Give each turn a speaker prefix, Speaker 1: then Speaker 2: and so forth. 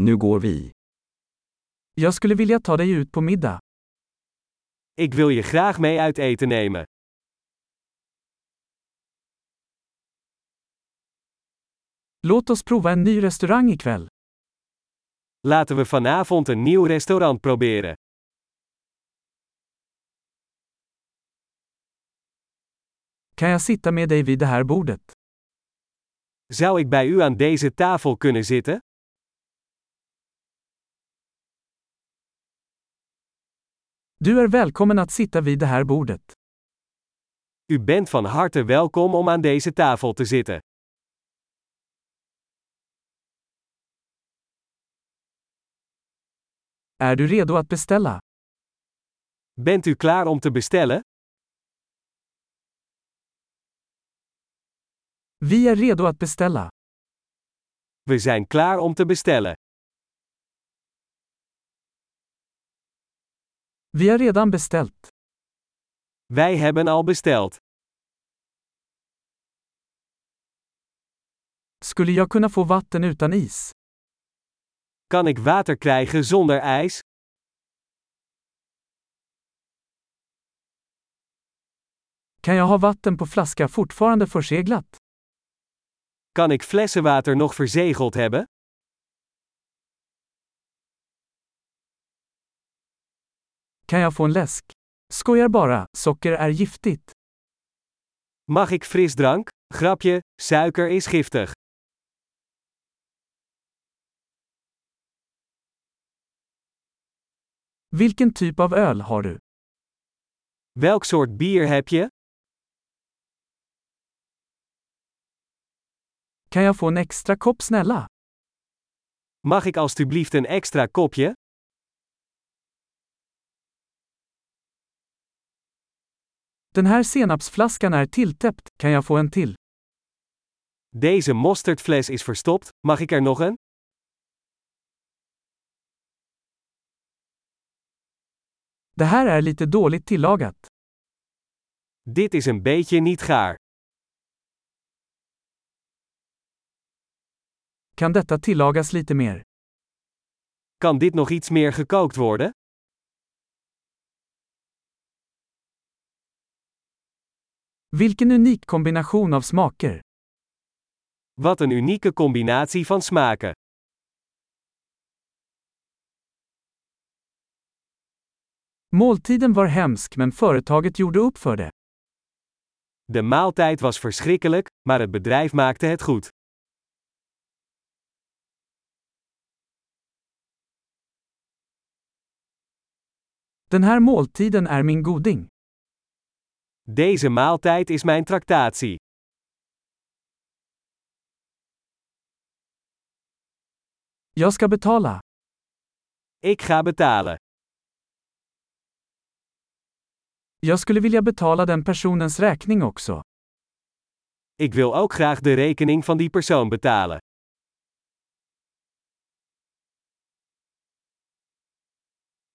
Speaker 1: Nu går vi.
Speaker 2: Jag skulle vilja ta dig ut på middag.
Speaker 3: Ik wil je graag mee uit eten nemen.
Speaker 2: Låt oss prova en ny restaurang ikväll.
Speaker 3: Laten we vanavond een nieuw restaurant proberen.
Speaker 2: Kan jag sitta med dig vid det här bordet?
Speaker 3: Zou ik bij u aan deze tafel kunnen zitten?
Speaker 2: Du är välkommen att sitta vid det här bordet.
Speaker 3: U bent van harte welkom om aan deze tafel te zitten.
Speaker 2: Är du redo att beställa?
Speaker 3: Bent u klaar om te bestellen?
Speaker 2: Vi är redo att beställa.
Speaker 3: We zijn klaar om te bestellen.
Speaker 2: Vi har redan beställt.
Speaker 3: Wij hebben al besteld.
Speaker 2: Skulle jag kunna få vatten utan is?
Speaker 3: Kan ik water krijgen zonder ijs?
Speaker 2: Kan jag ha vatten på flaska fortfarande förseglat?
Speaker 3: Kan ik flessenwater nog verzegeld hebben?
Speaker 2: Kan jag få en läsk? Skojar bara, socker är giftigt.
Speaker 3: Mag ik frisdrank? Grapje, suiker is giftig.
Speaker 2: Vilken typ av öl har du?
Speaker 3: Welk soort bier heb je?
Speaker 2: Kan jag få en extra kopp snälla?
Speaker 3: Mag ik alstublieft een extra kopje?
Speaker 2: Den här senapsflaskan är tilltäppt, kan jag få en till?
Speaker 3: Deze mosterdfles is verstopt, mag ik er nog een?
Speaker 2: Det här är lite dåligt tillagat.
Speaker 3: Dit is een beetje niet gaar.
Speaker 2: Kan detta tillagas lite mer?
Speaker 3: Kan dit nog iets meer gekookt worden?
Speaker 2: Vilken unik kombination av smaker.
Speaker 3: Wat een unieke combinatie van smaken.
Speaker 2: Måltiden var hemsk men företaget gjorde upp för det.
Speaker 3: De maaltijd was verschrikkelijk, maar het bedrijf maakte het goed.
Speaker 2: Den här måltiden är min goding.
Speaker 3: Deze maaltijd is mijn tractatie.
Speaker 2: Jag ska betala.
Speaker 3: Ik ga betalen.
Speaker 2: Jag skulle vilja betala den personens räkning också.
Speaker 3: Ik wil ook graag de rekening van die persoon betalen.